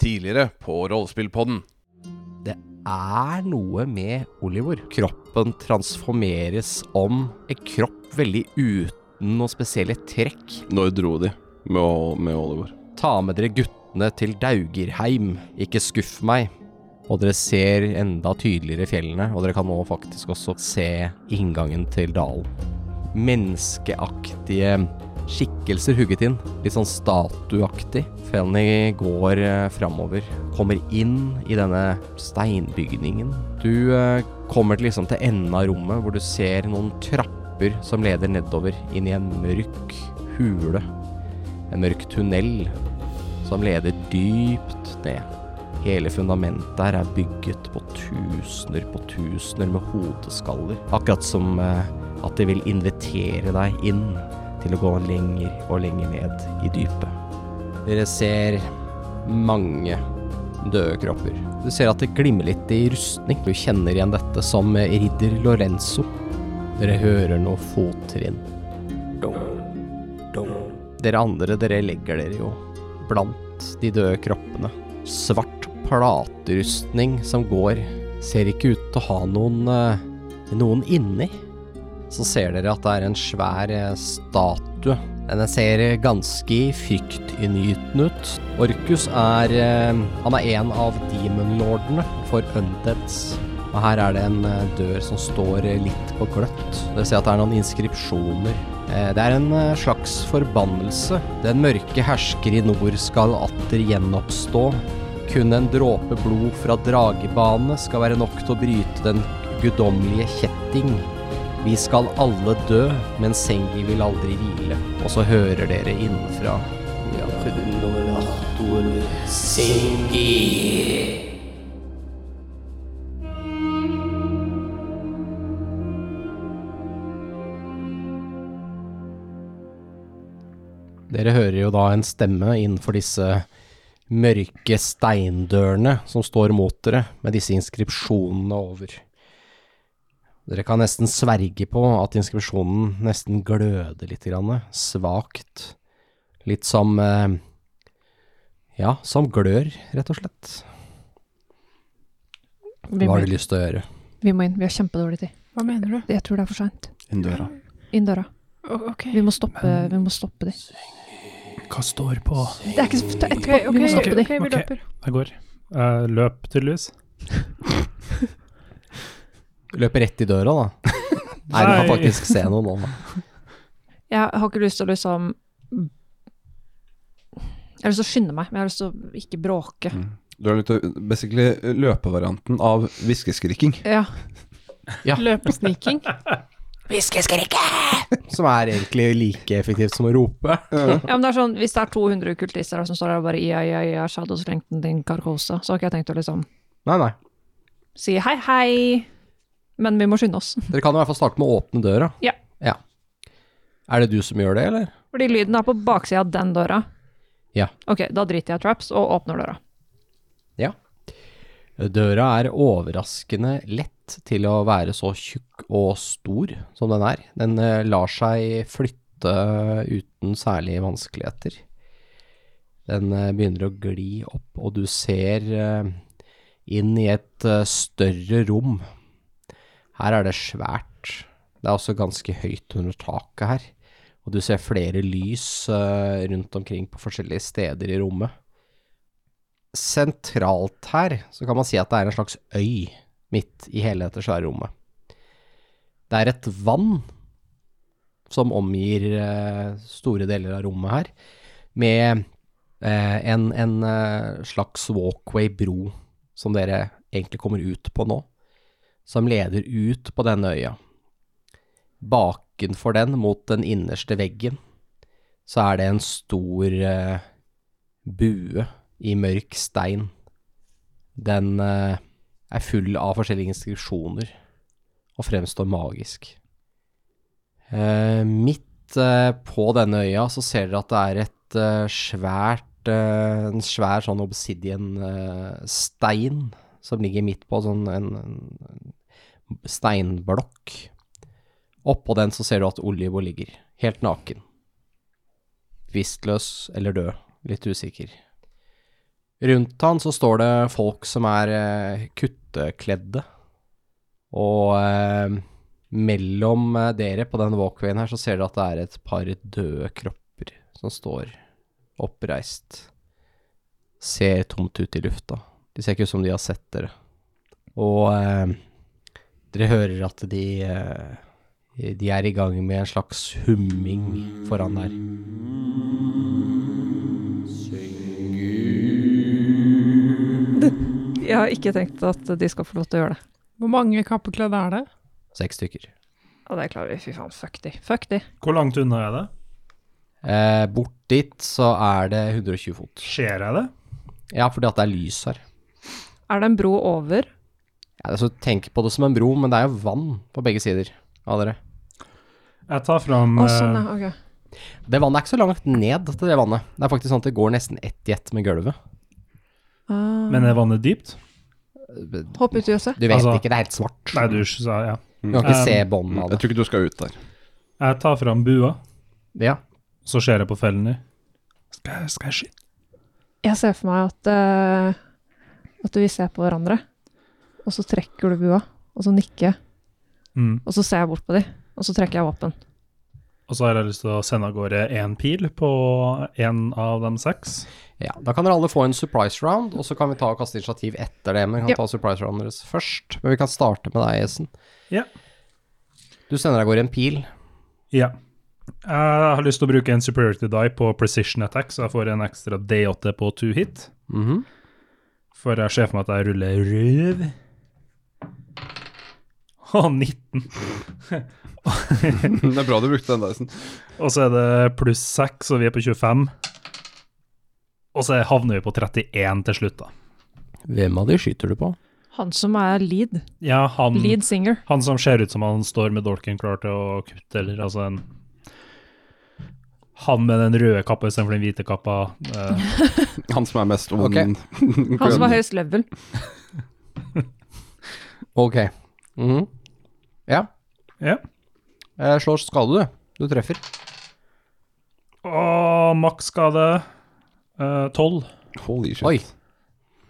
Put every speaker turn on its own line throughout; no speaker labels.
tidligere på Rollespillpodden.
Det er noe med Oliver. Kroppen transformeres om. En kropp veldig uten noen spesielle trekk.
Når dro de med, Ol- med Oliver?
Ta med dere guttene til Daugerheim. Ikke skuff meg. Og dere ser enda tydeligere fjellene, og dere kan nå faktisk også se inngangen til dalen. Menneskeaktige skikkelser hugget inn. Litt sånn statuaktig. Fanny går eh, framover. Kommer inn i denne steinbygningen. Du eh, kommer til, liksom til enden av rommet, hvor du ser noen trapper som leder nedover inn i en mørk hule. En mørk tunnel som leder dypt ned. Hele fundamentet her er bygget på tusener på tusener med hodeskaller. Akkurat som eh, at de vil invitere deg inn til å gå lenger og lenger ned i dypet. Dere ser mange døde kropper. Du ser at det glimmer litt i rustning. Du kjenner igjen dette som eh, ridder Lorenzo. Dere hører noe fottrinn. Dere andre, dere legger dere jo blant de døde kroppene. Svart platerustning som går, ser ikke ut til å ha noen eh, noen inni. Så ser dere at det er en svær eh, statue. Den ser eh, ganske fryktinngytende ut. Orkus er eh, Han er en av demonlordene for Undeads. Og her er det en eh, dør som står eh, litt på gløtt. Dere ser at det er noen inskripsjoner. Eh, Det er en eh, slags forbannelse. Den mørke hersker i nord skal atter gjenoppstå. Kun en dråpe blod fra dragebane skal være nok til å bryte den guddommelige kjetting. Vi skal alle dø, men Sengi vil aldri hvile. Og så hører dere innenfra. Dere hører jo da en stemme innenfor disse mørke steindørene som står mot dere, med disse inskripsjonene over. Dere kan nesten sverge på at inskripsjonen nesten gløder litt, grann, svakt. Litt som eh, Ja, som glør, rett og slett.
Vi
Hva
må,
har du
inn.
lyst til å gjøre?
vi må inn. Vi har kjempedårlig tid.
Hva mener du?
Jeg tror det er for seint.
Inn døra.
Inn døra.
O- ok.
Vi må stoppe, vi må stoppe de.
Hva står på?
Det er ikke så ta etterpå.
Ok, ok,
Vi må stoppe de.
ok, vi
Ok.
løper.
Det går. Eh, løp, tydeligvis.
Løpe rett i døra, da? Nei, du kan
Nei.
faktisk se noe nå. da.
Jeg har ikke lyst til å liksom Jeg har lyst til å skynde meg, men jeg har lyst til å ikke bråke.
Mm.
Du har litt basically eh, løpevarianten av hviskeskrikking.
Ja.
Løpesniking.
Som er egentlig like effektivt som å rope.
ja, men det er sånn, Hvis det er 200 kultister her som står der og bare ia, ia, ia, shadows lengthen din karkosa, så har ikke jeg tenkt å liksom
Nei, nei.
si hei, hei, men vi må skynde oss.
Dere kan i hvert fall starte med å åpne døra.
Ja.
Er det du som gjør det, eller?
Fordi lyden er på baksida av den døra.
Ja.
Ok, da driter jeg i traps og åpner døra.
Ja. Døra er overraskende lett til å være så tjukk og stor som den er. Den eh, lar seg flytte uten særlige vanskeligheter. Den eh, begynner å gli opp, og du ser eh, inn i et eh, større rom. Her er det svært. Det er også ganske høyt under taket her. Og du ser flere lys eh, rundt omkring på forskjellige steder i rommet sentralt her, så kan man si at det er en slags øy midt i hele dette svære rommet. Det er et vann som omgir eh, store deler av rommet her, med eh, en, en eh, slags walkway-bro som dere egentlig kommer ut på nå, som leder ut på denne øya. Bakenfor den, mot den innerste veggen, så er det en stor eh, bue i mørk stein. Den eh, er full av forskjellige inskripsjoner og fremstår magisk. Eh, midt eh, på denne øya så ser dere at det er et eh, svært eh, en svær sånn obsidian-stein som ligger midt på sånn en, en steinblokk. Oppå den så ser du at Olivo ligger, helt naken. Vistløs eller død, litt usikker. Rundt han så står det folk som er eh, kuttekledde. Og eh, mellom eh, dere på den walkwayen her så ser dere at det er et par døde kropper som står oppreist. Ser tomt ut i lufta. De ser ikke ut som de har sett dere. Og eh, dere hører at de eh, De er i gang med en slags humming foran der.
Jeg har ikke tenkt at de skal få lov til å gjøre det.
Hvor mange kappekledde er det?
Seks stykker.
Og det klarer vi. Fy faen, fuck de. Fuck de.
Hvor langt unna er det?
Eh, bort dit så er det 120 fot.
Ser jeg det?
Ja, fordi at det er lys her.
Er det en bro over?
Ja, altså, tenk på det som en bro, men det er jo vann på begge sider av dere.
Jeg tar fram
Å, sånn,
eh,
ja. Ok.
Det vannet er ikke så langt ned til det vannet. Det er faktisk sånn at det går nesten ett jet med gulvet.
Ah.
eh, Men er vannet dypt?
Du
Hopp ut i jøsset.
vet
Altså-
ikke, det er helt svart.
Nei, du sa ja.
Du kan ikke
Um,
se båndene
Jeg
av det.
tror ikke du skal ut der.
Jeg tar fram bua,
Ja.
så ser jeg på fellene. Skal jeg, skal jeg skyte?
Jeg ser for meg at, eh, at vi ser på hverandre, og så trekker du bua, og så nikker jeg,
Mm.
og så ser jeg bort på de, og så trekker jeg våpen.
Og så har jeg lyst til å sende av gårde én pil på én av de seks.
ja. Da kan dere alle få en surprise round, og så kan vi ta og kaste initiativ etter det. Men vi kan
Ja.
ta surprise round deres først. Men vi kan starte med deg, Esen.
Ja.
Du sender av gårde en pil.
Ja. Jeg har lyst til å bruke en superiority die på precision attack, så jeg får en ekstra D8 på two hit.
Mhm.
For jeg ser for meg at jeg ruller røv. Å, 19.
Det er bra du brukte den deisen.
Og så er det pluss 6, så vi er på 25. Og så havner vi på 31 til slutt, da.
Hvem av de skyter du på?
Han som er lead,
Ja,
Mm.
han,
lead singer.
han som ser ut som han står med dolken klar til å kutte, eller altså en Han med den røde kappa istedenfor den hvite kappa. eh,
Han som er mest ond.
Ok.
Han som har høyest level.
Ok. Mhm. Ja.
ja.
Jeg slår skade, du. Du treffer.
Og maksskade uh, 12.
Holy shit.
Oi.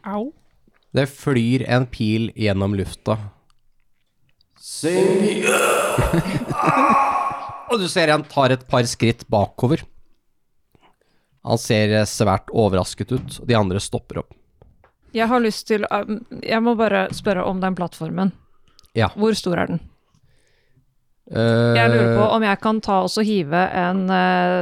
Au.
Det flyr en pil gjennom lufta. Og du ser han tar et par skritt bakover. Han ser eh, svært overrasket ut, og de andre stopper opp.
Jeg har lyst til, um, jeg må bare spørre om den plattformen.
Ja.
Hvor stor er den?
Eh,
Jeg lurer på om jeg kan ta og så hive en eh,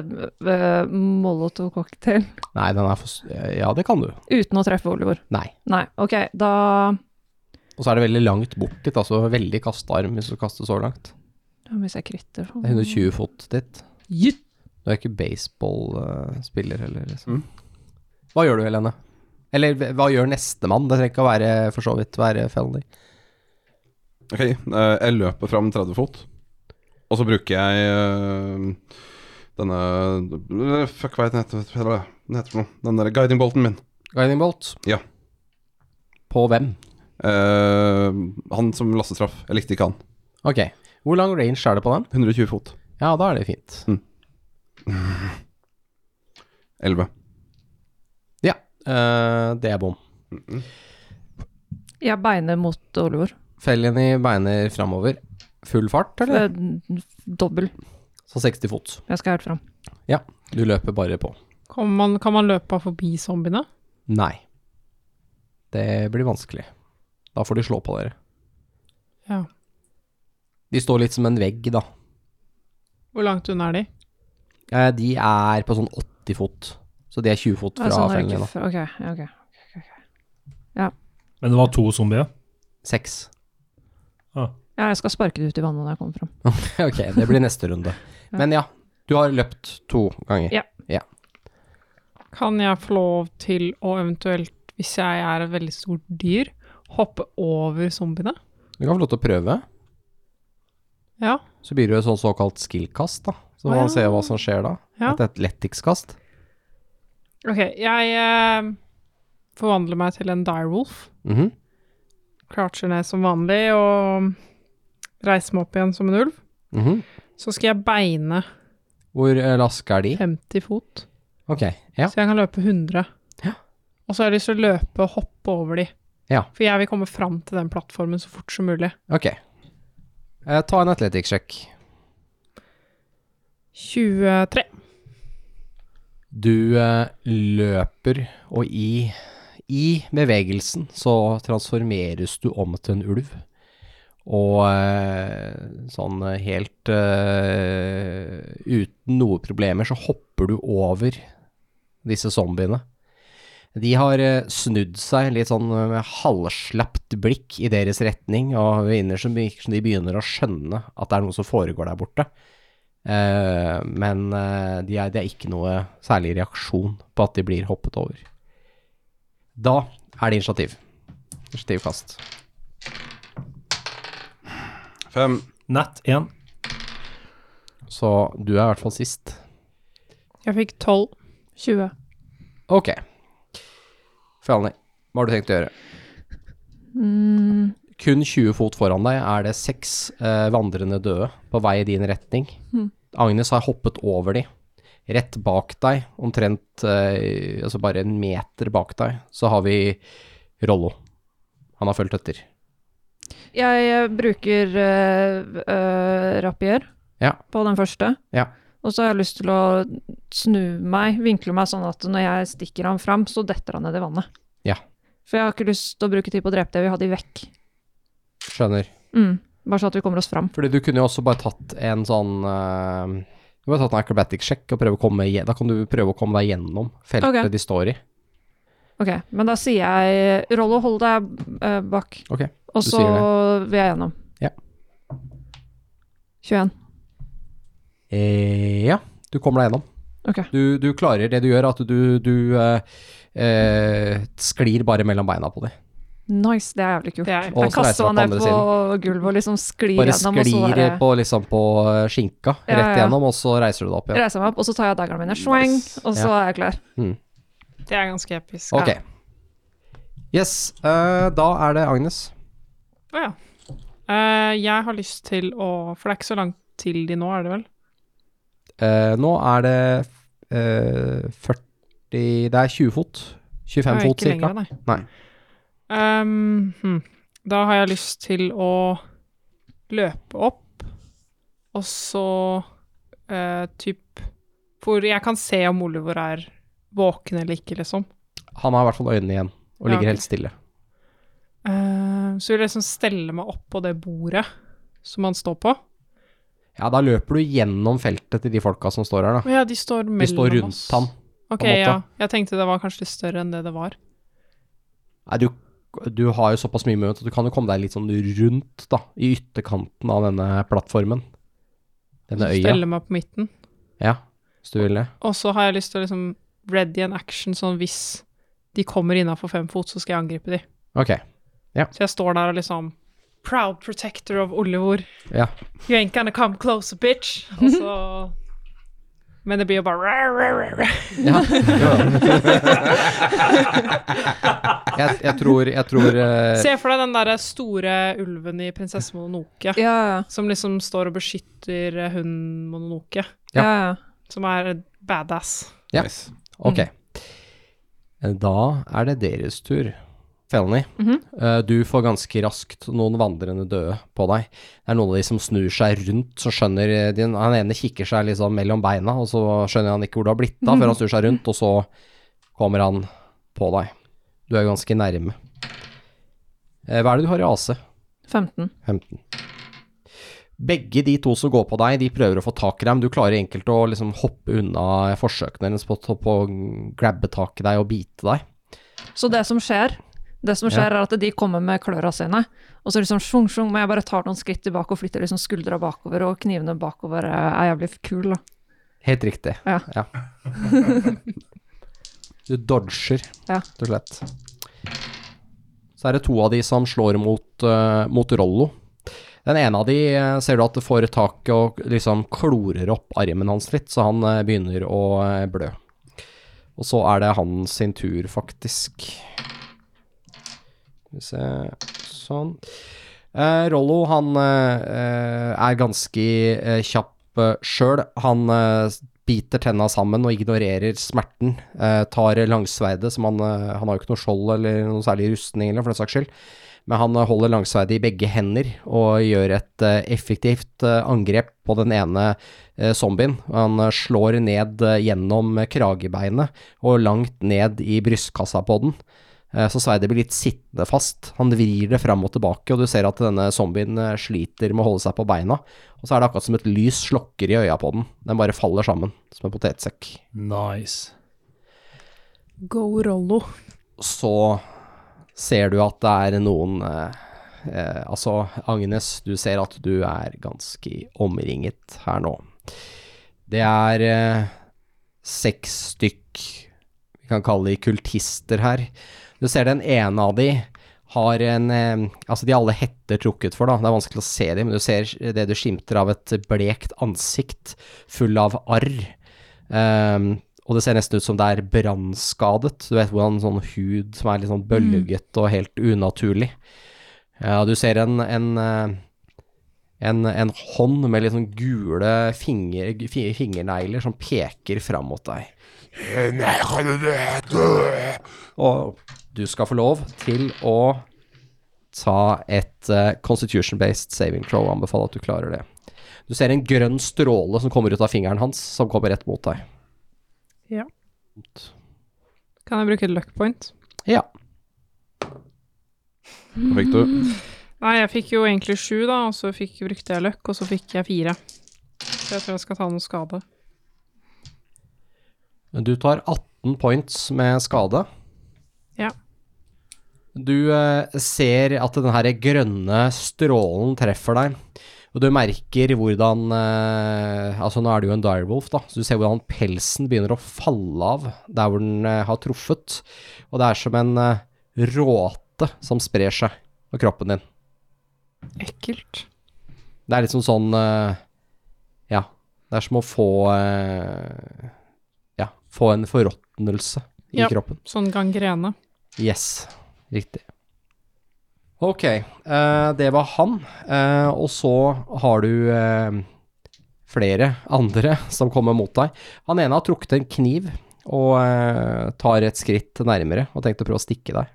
eh, molotov-cocktail
Nei, den er for s- Ja, det kan du.
uten å treffe Oliver.
Nei.
Nei, ok, da
Og så er det veldig langt bort dit, altså veldig kasta arm hvis du kaster så langt.
Da må jeg sånn. se kritter.
Det er 120 fot dit.
Jytt!
Du er ikke baseballspiller heller, liksom.
Mm.
Hva gjør du, Helene? Eller hva- hva gjør nestemann? Det trenger ikke å være for så vidt være felony.
Ok, eh, jeg løper fram 30 fot, og så bruker jeg eh, denne eh, Fuck, hva heter den heter- hva heter den heter for noe? Den der guiding bolten min.
Guiding bolt?
Ja.
På hvem?
Eh, han som Lasse traff. Jeg likte ikke han.
Ok. Hvor lang range er det på den?
120 fot.
Ja, da er det fint.
11.
Ja, eh, det er bom.
Jeg beiner mot Oliver.
Felony beiner framover. Full fart, eller?
Eh, Dobbel.
Så 60 fot.
Jeg skal helt fram.
Du løper bare på.
Kan man, kan man løpe forbi zombiene?
Nei. Det blir vanskelig. Da får de slå på dere.
Ja.
De står litt som en vegg, da.
Hvor langt unna er de?
Eh, De er på sånn 80 fot. Så de er 20 fot
Ah,
fra
sånn er det
fellene
ikke
da.
fra- Ok, ja, ok.
Men det var to zombier.
Seks.
Ja, jeg skal sparke det ut i vannet når jeg kommer fram.
ok, det blir neste runde.
Ja.
Men ja, du har løpt to ganger.
Ja.
Kan jeg få lov til å eventuelt, hvis jeg er et veldig stort dyr, hoppe over zombiene?
Du kan få lov til å prøve.
Ja.
Så blir det jo et sånn såkalt skill-kast, da. Så får
Å, ja.
man se hva som skjer da.
Ja.
Et athletics-kast.
Ok, jeg eh, forvandler meg til en direwolf.
Mhm.
Croucher ned som vanlig og reiser meg opp igjen som en ulv.
Mhm.
Så skal jeg beine
Hvor eh, raske er de?
50 fot,
Ok, ja.
så jeg kan løpe 100. Og så har jeg lyst til å løpe og hoppe over de.
Ja.
For jeg vil komme fram til den plattformen så fort som mulig.
Ok. Eh, ta en athletics-sjekk.
23.
Du eh, løper, og i, i bevegelsen så transformeres du om til en ulv. Og eh, sånn eh, helt eh, uten noe problemer så hopper du over disse zombiene. De har eh, snudd seg litt sånn eh, med halvslapt blikk i deres retning, og innerst virker som de begynner å skjønne at det er noe som foregår der borte. Eh, men eh, de er, det er ikke noe særlig reaksjon på at de blir hoppet over. Da er det initiativ. Initiativkast.
Fem.
Nett 1.
Så du er i hvert fall sist.
Jeg fikk 12.
20.
Ok. Fjalni, hva har du tenkt å gjøre?
Mm,
Kun 20 fot foran deg er det seks eh, vandrende døde på vei i din retning. Agnes har hoppet over de. Rett bak deg, omtrent eh, altså bare en meter bak deg, så har vi Rollo. Han har fulgt etter.
Jeg eh, bruker uh, rapier
Ja.
på den første.
Ja.
Og så har jeg lyst til å snu meg, vinkle meg sånn at når jeg stikker han fram, så detter han ned i vannet.
Ja.
For jeg har ikke lyst til å bruke tid på å drepe det, vi har de vekk.
Skjønner.
Mm. Bare så at vi kommer oss fram.
Fordi du kunne jo også bare tatt en sånn eh, Du kunne bare tatt en acrobatic check og prøve å komme igjen. Da kan du prøve å komme deg gjennom feltet
Ok.
de står i.
Ok, men da sier jeg Rollo, hold deg eh, bak.
Ok,
Og
du
så
sier
vil jeg gjennom.
Ja.
21.
Eh, ja, du kommer deg gjennom.
Ok.
Du, du klarer det du gjør, at du, du eh, eh, sklir bare mellom beina på dem.
Nice, det er jævlig kult.
Det er
Og
Jeg
så reiser
kaster
han
han
på andre
ned på
siden.
gulvet og liksom sklir
Bare
gjennom, og så
sklir
bare
på, liksom på eh, skinka
Ja,
rett
ja.
igjennom, og så reiser du deg opp igjen.
reiser jeg meg opp, og så tar jeg daggerne mine, swang,
Nice.
og så
Ja.
er jeg klar.
Det er ganske episk.
Ok. Yes, eh, da er det Agnes.
Å ja. Eh, jeg har lyst til å For det er ikke så langt til de nå, er det vel?
Eh, nå er det eh, 40 Det er 20 fot. 25
Jeg er
fot,
ikke
cirka.
lenger, nei.
Nei.
Ehm, hm. Da har jeg lyst til å løpe opp, og så eh, typ For jeg kan se om Olivor er våken eller ikke, liksom.
Han har i hvert fall øynene igjen, og
Ja,
ligger
ok.
helt stille.
Eh, så vil jeg liksom stelle meg opp på det bordet som han står på.
Ja, da løper du gjennom feltet til de folka som står her,
Å
da.
ja, de står mellom
De
oss.
står rundt ham.
Ok,
på en måte.
ja. Jeg tenkte det var kanskje litt større enn det det var.
Nei, du, du har jo såpass mye movement at du kan jo komme deg litt sånn rundt, da, i ytterkanten av denne plattformen. Denne øya.
Stelle meg på midten.
Ja, hvis du vil det.
Og så har jeg lyst til å liksom ready an action, sånn hvis de kommer innafor fem fot, så skal jeg angripe de.
Ok.
Så jeg står der og liksom Proud protector of Ollevor.
Ja.
You ain't gonna come closer, bitch. Og så Men det blir jo bare rar, rar, rar.
Ja. jeg, jeg tror, jeg tror eh,
Se for deg den derre store ulven i Prinsesse Mononoke
Ja,
som liksom står og beskytter eh, hunden Mononoke,
Ja.
ja.
som er badass.
Ja.
Nice.
Ok. Da er det deres tur. Felony, eh, du får ganske raskt noen vandrende døde på deg. Det er noen av de som snur seg rundt, så skjønner eh, de- Han ene kikker seg liksom mellom beina, og så skjønner han ikke hvor det har blitt av, før han snur seg rundt, og så kommer han på deg. Du er ganske nærme. Eh, Hva er det du har i AC?
15.
15. Begge de to som går på deg, de prøver å få tak i deg, men du klarer enkelte å liksom hoppe unna forsøkene deres på å- på å grabbe tak i deg og bite deg.
Så det som skjer, det som skjer er at de kommer med kløra sine, og så liksom sjung, sjung, men jeg bare tar noen skritt tilbake og flytter liksom skuldra bakover, og knivene bakover eh, er jævlig kul, da.
Helt riktig.
Ja.
Du dodger,
Ja.
rett og slett. Så er det to av de som slår mot, eh, mot Rollo. Den ene av de eh, ser du at det får tak i og liksom klorer opp armen hans litt, så han eh, begynner å eh, blø. Og så er det han sin tur, faktisk. Skal vi se Sånn. Eh, Rollo, han eh, eh, er ganske eh, kjapp uh, sjøl. Han eh, biter tenna sammen og ignorerer smerten. Eh, tar langsverdet, som han eh, Han har jo ikke noe skjold eller noe særlig rustning, eller for den saks skyld. Men han eh, holder langsverdet i begge hender og gjør et eh, effektivt eh, angrep på den ene eh, zombien. Han eh, slår ned eh, gjennom eh, kragebeinet og langt ned i brystkassa på den. Eh, Så sverdet blir litt sittende fast. Han vrir det fram og tilbake, og du ser at denne zombien eh, sliter med å holde seg på beina. Og så er det akkurat som et lys slokker i øya på den. Den bare faller sammen, som en potetsekk.
Nice.
Go Rollo.
Så ser du at det er noen eh, eh, Altså, Agnes, du ser at du er ganske omringet her nå. Det er eh, seks stykk vi kan kalle de kultister her. Du ser den ene av de har en eh, Altså, de har alle hetter trukket for, da. Det er vanskelig å se dem, men du ser det du skimter av et blekt ansikt full av arr. Ehm, og det ser nesten ut som det er brannskadet. Du vet hvordan sånn hud som er litt sånn bølget og helt unaturlig. Ja, du ser en, en eh, en, en hånd med litt sånn gule finger, fi- fingernegler som peker fram mot deg. Og du skal få lov til å ta et eh, constitution-based saving throw. Anbefaler at du klarer det. Du ser en grønn stråle som kommer ut av fingeren hans, som kommer rett mot deg.
Ja. Kan jeg bruke et luck point?
Ja.
Hva fikk du?
Nei, jeg fikk jo egentlig sju, da, og så fikk, brukte jeg luck, og så fikk jeg fire. Så jeg tror jeg skal ta noe skade.
Du tar 18 points med skade.
Ja.
Du eh, ser at den her grønne strålen treffer deg, og du merker hvordan eh, Altså, nå er det jo en direwolf, da, så du ser hvordan pelsen begynner å falle av der hvor den eh, har truffet, og det er som en eh, råte som sprer seg på kroppen din.
Ekkelt.
Det er liksom sånn eh, Ja, det er som å få eh, Ja, få en forråtnelse i
Ja.
kroppen.
Sånn gangrene.
Yes, riktig. Ok, eh, det var han. Eh, og så har du eh, flere andre som kommer mot deg. Han ene har trukket en kniv og eh, tar et skritt nærmere og tenkte å prøve å stikke deg.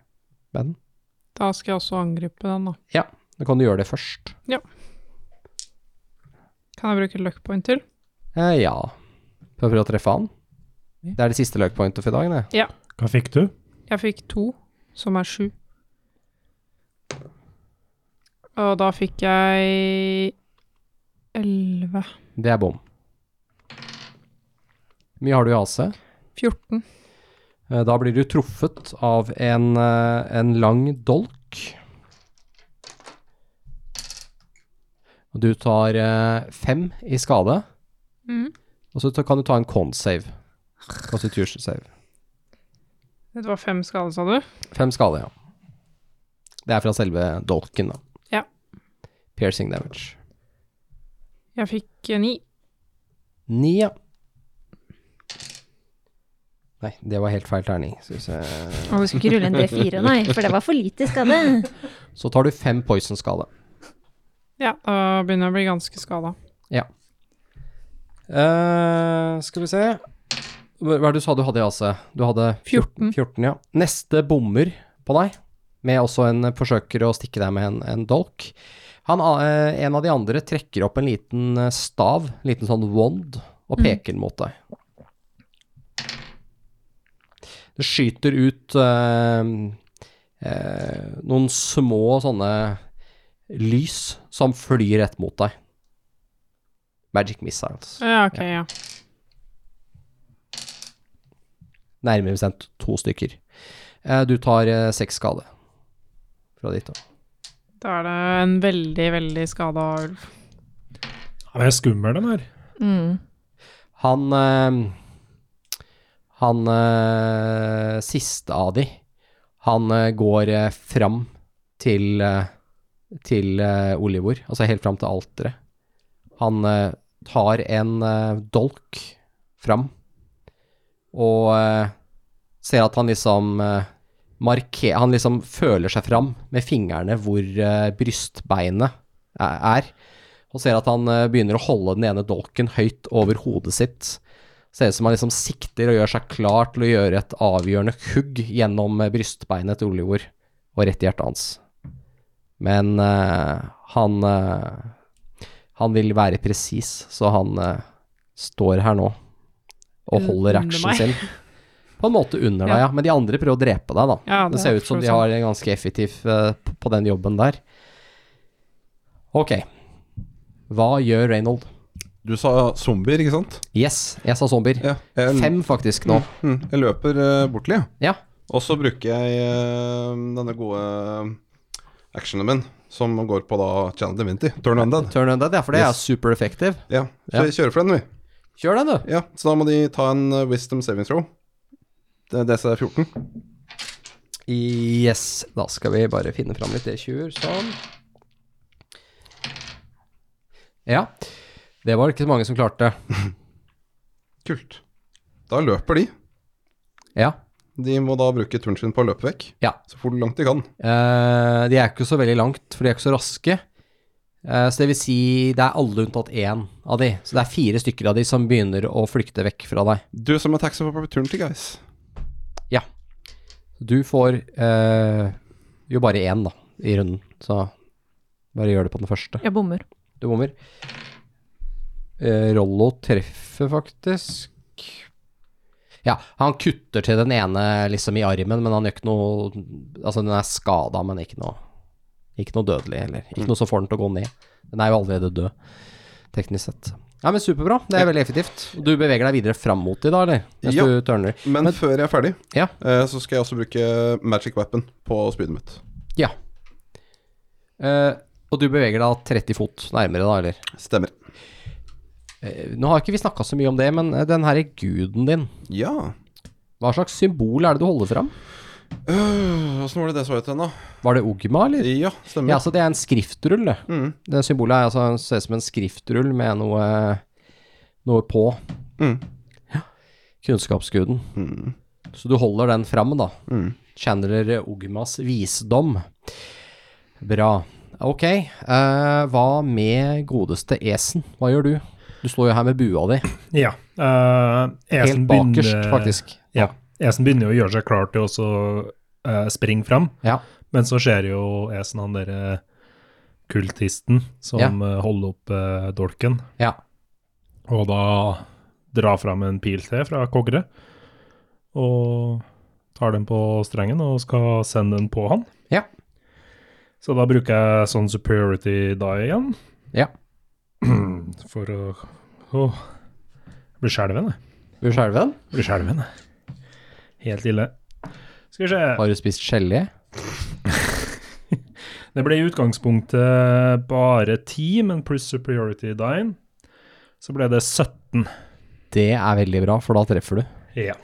Men
Da skal jeg også angripe den, da.
ja, da kan du gjøre det først.
Kan jeg bruke et luck point til?
Eh, ja. Prøv å prøve å treffe han. Det er det siste løkpointet for i dag, det.
Hva fikk du?
Jeg fikk to, som er sju. Og da fikk jeg elleve.
Det er bom. Hvor mye har du i AC?
14.
Eh, Da blir du truffet av en, eh, en lang dolk. Og du tar eh, fem i skade,
Mhm.
og så ta- kan du ta en con-save. Constitution save.
Det var fem skader, sa du?
Fem skade, ja. Det er fra selve dolken, da.
Ja.
Piercing damage.
Jeg fikk eh, ni.
Ni, ja. Nei, det var helt feil terning. Skal vi se.
Og vi skulle ikke rulle en D4, nei, for det var for lite skade.
Så tar du fem poison-skade.
Ja, da begynner jeg å bli ganske skada.
Eh, skal vi se Hva hva er det du sa du hadde i AC? Du hadde
14.
14, ja. Neste bommer på deg, med også en eh, forsøker å stikke deg med en, en dolk. Han, a- eh, en av de andre trekker opp en liten eh, stav, en liten sånn wand, og peker den mot deg. Det skyter ut eh, eh, noen små sånne lys som flyr rett mot deg. Magic missiles.
Ja, ok, ja.
Nærmere bestemt to stykker. Eh, Du tar eh, seks skade fra ditt. da.
Da er det en veldig, veldig skada ulv.
Han er skummel, den her.
Mm.
Han eh, Han eh, siste av de, han eh, går eh, fram til eh, til eh, Olivor, altså helt fram til alteret. Han eh, tar en eh, dolk fram og eh, ser at han liksom eh, marker Han liksom føler seg fram med fingrene hvor eh, brystbeinet er, er, og ser at han eh, begynner å holde den ene dolken høyt over hodet sitt. Ser ut som han liksom sikter og gjør seg klar til å gjøre et avgjørende hugg gjennom eh, brystbeinet til Oljord og rett i hjertet hans. Men eh, han eh, Han vil være presis, så han eh, står her nå og holder
Under
actionen
meg.
sin. På en måte under deg,
Ja.
ja. Men de andre prøver å drepe deg, da.
Ja,
Det ser ut som de har
sånn.
en ganske effektiv eh, p- på den jobben der. Ok. Hva gjør Reynold?
Du sa zombier, ikke sant?
Yes, jeg sa zombier.
Ja. Jeg,
Fem faktisk nå.
Mm, jeg løper eh, bort til dem,
Ja.
og så bruker jeg eh, denne gode eh, actionen min, som går på da Channel Divinity, Turn Undead.
Turn undead, ja, for det
Yes.
er super effective.
Ja, så
Ja.
vi kjører for den, vi.
Kjør den, du.
Ja, Så da må de ta en eh, Wisdom Saving Throw. Det er DC14.
Yes. Da skal vi bare finne fram litt D20-er. Sånn. Ja. Det var ikke så mange som klarte.
Kult. Da løper de.
Ja.
De må da bruke turen sin på å løpe vekk.
Ja.
Så fort langt de kan.
Eh, de er ikke så veldig langt, for de er ikke så raske. Eh, så det vil si, det er alle unntatt én av de. Så det er fire stykker av de som begynner å flykte vekk fra deg.
Du som er taxi for opportunity, guys.
Du får eh, jo bare én, da, i runden. Så bare gjør det på den første.
Jeg bommer.
Du bommer. Eh, Rollo treffer faktisk Ja, han kutter til den ene liksom i armen, men han gjør ikke noe Altså, den er skada, men ikke noe Ikke noe dødelig heller. Ikke noe som får den til å gå ned. Den er jo allerede død, teknisk sett. Ja, men superbra. Det er veldig effektivt. Du beveger deg videre fram mot de da, eller? Mens
Ja.
du turner.
Men,
Men-
før jeg er ferdig,
Ja.
eh, så skal jeg også bruke magic weapon på spydet mitt.
Ja. Eh, og du beveger deg 30 fot nærmere, da, eller?
Stemmer.
Eh, nå har ikke vi snakka så mye om det, men eh, den herre guden din
Ja.
Hva slags symbol er det du holder fram?
Øh, Åssen var det det så ut igjen, da?
Var det Ogma, eller?
Ja,
Ja,
stemmer.
altså det er en skriftrull, det.
Mm.
Det symbolet er altså, ser ut som en skriftrull med noe, noe på.
Mm.
Kunnskapsguden. Så du holder den fram, da.
Mm.
Channeler Ogmas visdom. Bra. Ok, eh, hva med godeste Esen? Hva gjør du? Du står jo her med bua di,
Ja. eh,
helt
esen
bakerst,
begynner-
faktisk.
Ja. Esen begynner jo å gjøre seg klar til å så, eh, springe fram,
Ja.
men så ser jo Esen han derre kultisten som eh, holder opp eh, dolken,
Ja.
og da drar fram en pil til fra kogre, og tar den på strengen og skal sende den på han.
Ja.
Så da bruker jeg sånn superiority die igjen.
Ja.
For å Åh. Jeg blir skjelven, jeg.
Vil du skjelve den?
Blir skjelven. Helt ille. Skal vi se.
Har du spist gelé?
Det ble i utgangspunktet bare 10, men pluss superiority dine, så ble det 17.
Det er veldig bra, for da treffer du.
Ja.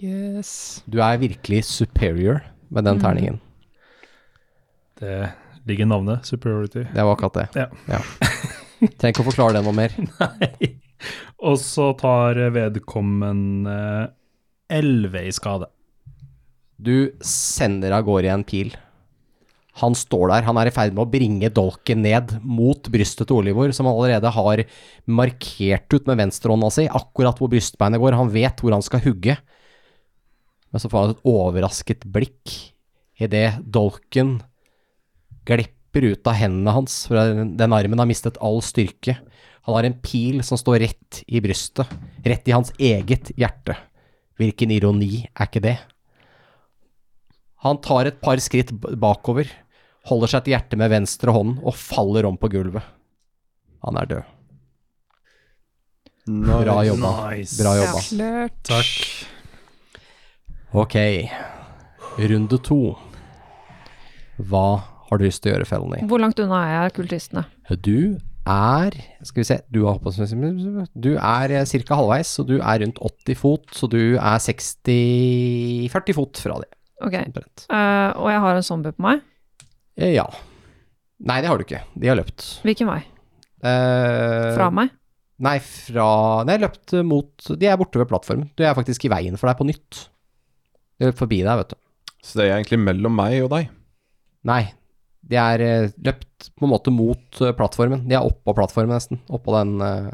Yes.
Du er virkelig superior med den terningen.
Det ligger i navnet, superiority.
Det var akkurat det.
Ja.
Trenger ikke å forklare det noe mer.
Nei. Og så tar vedkommende 11 i skade.
Du sender av gårde en pil. Han står der, han er i ferd med å bringe dolken ned mot brystet til Olivor, som han allerede har markert ut med venstrehånda si, akkurat hvor brystbeinet går. Han vet hvor han skal hugge. Men så får han et overrasket blikk idet dolken glipper ut av hendene hans, for den den armen har mistet all styrke. Han har en pil som står rett i brystet, rett i hans eget hjerte. Hvilken ironi er ikke det? Han tar et par skritt b- bakover, holder seg til hjertet med venstre hånd og faller om på gulvet. Han er død. Bra jobba.
Nice.
Bra jobba.
Klart.
Takk.
Ok, runde to. Hva har du lyst til å gjøre, Felony?
Hvor langt unna er jeg kultistene?
Du er Skal vi se Du, har hoppet, du er ca. halvveis, så du er rundt 80 fot, så du er 60 40 fot fra det,
Ok,
omtrent.
eh, og jeg har en zombie på meg.
Eh, Ja. Nei, det har du ikke. De har løpt.
Hvilken vei?
Eh,
Fra meg?
Nei, fra Nei, jeg løpt mot De er borte ved plattformen. Du er faktisk i veien for deg på nytt. De løp forbi deg, vet du.
Så det er egentlig mellom meg og deg.
Nei, de er eh, løpt på en måte mot eh, plattformen. De er oppå plattformen, nesten. Oppå den eh,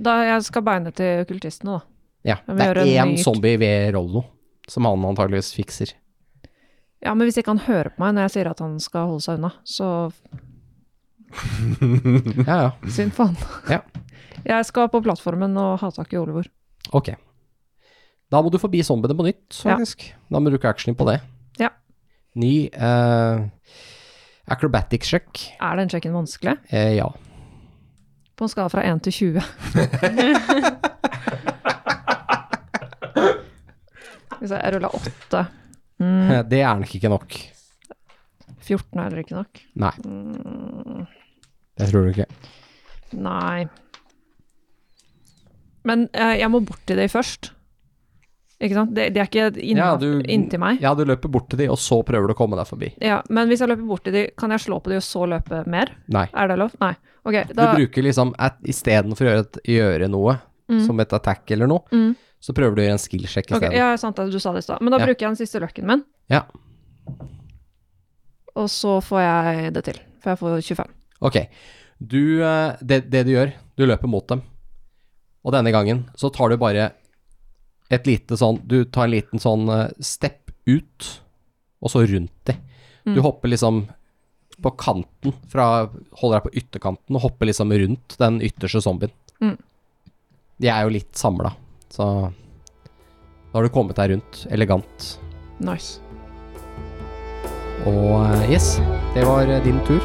Da jeg skal beine til kultistene, da.
Ja,
Da
det
må vi
er
gjøre en
én
ny-
zombie ved Rollo som han antageligvis fikser.
Ja, men hvis ikke han hører på meg når jeg sier at han skal holde seg unna, så
Ja, ja.
synd for han.
Ja.
Jeg skal på plattformen og ha tak i Oliver.
Ok. Da må du forbi zombiene på nytt, faktisk. Da må du bruke actionen på det.
Ja.
Ny eh, acrobatics check.
Er den sjekken vanskelig?
Eh, ja.
På en skala fra 1 til 20. Hvis jeg ruller 8 mm,
Det er nok ikke nok.
14 er heller ikke nok.
Nei. Mm. Det tror du ikke.
Nei. Men eh, jeg må bort til deg først. Ikke sant? Det, det er ikke inn,
Ja, du-
inntil meg.
Ja, du løper bort til de, og så prøver du å komme deg forbi.
Ja, men hvis jeg løper bort til de, kan jeg slå på de og så løpe mer?
Nei.
Er det lov? Nei. Ok,
Du
da
bruker liksom at istedenfor å gjøre, et, gjøre noe, som et attack eller noe,
Mm.
så prøver du å gjøre en skill check
Ok,
isteden.
Ja, sant det, du sa det i stad. Men da
Ja.
bruker jeg den siste løkken min,
Ja.
og så får jeg det til. For jeg får 25.
Ok. Du, eh, det, det du gjør, du løper mot dem. Og denne gangen så tar du bare et lite sånn Du tar en liten sånn eh, step ut, og så rundt dem. Du hopper liksom på kanten fra Holder deg på ytterkanten og hopper liksom rundt den ytterste zombien.
Mm.
De er jo litt samla, så Da har du kommet deg rundt elegant.
Nice.
Og eh, yes, det var eh, din tur.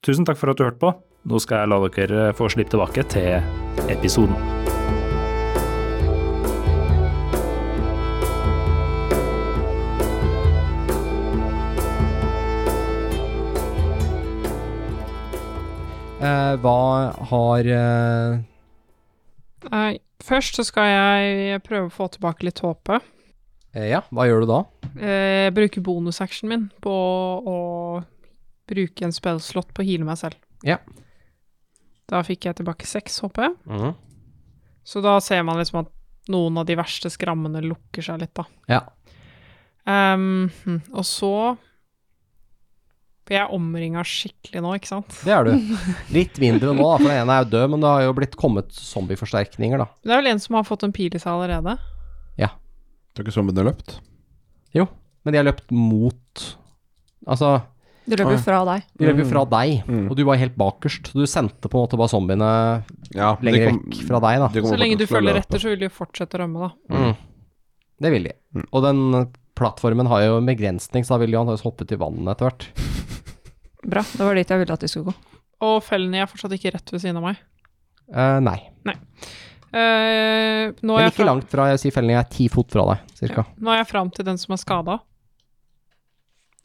Tusen takk for at du hørte på. Nå skal jeg la dere eh, få slippe tilbake til episoden.
Eh, hva har eh,
Nei, først så skal jeg prøve å få tilbake litt håpet.
eh, Ja, hva gjør du da?
Eh, Jeg bruker bonusactionen min på å bruke en spellslott på å heale meg selv.
Ja.
Da fikk jeg tilbake seks HP,
Mhm.
så da ser man liksom at noen av de verste skrammene lukker seg litt, da.
Ja.
Ehm, hm, og så For jeg er omringa skikkelig nå, ikke sant?
Det er du. Litt mindre nå, da, for den ene er jo død, men det har jo blitt kommet zombieforsterkninger, da.
Det er vel en som har fått en pil i seg allerede.
Tror ikke zombiene har løpt.
Men de har løpt mot Altså,
Du løper
Oi.
fra deg.
de løper jo fra deg,
Mm.
og du var helt bakerst. Du sendte på en måte bare zombiene
Ja, de
lenger
kom-
vekk fra deg, da.
de kommer
Så lenge
fortsatt til
du
å
følger
løpe.
etter, så vil de jo fortsette å rømme, da.
Mm. Det vil de.
Mm.
Og den plattformen har jo en begrensning, så da vil de antakeligvis hoppe til vannet etter hvert.
Bra. Det var dit jeg ville at de skulle gå.
Og fellene er fortsatt ikke rett ved siden av meg.
Eh, nei.
Eh, nå, er
Men
jeg
ikke
fra,
langt fra, jeg sier fellingen er ti fot fra deg, cirka.
nå er jeg fram til den som er skada.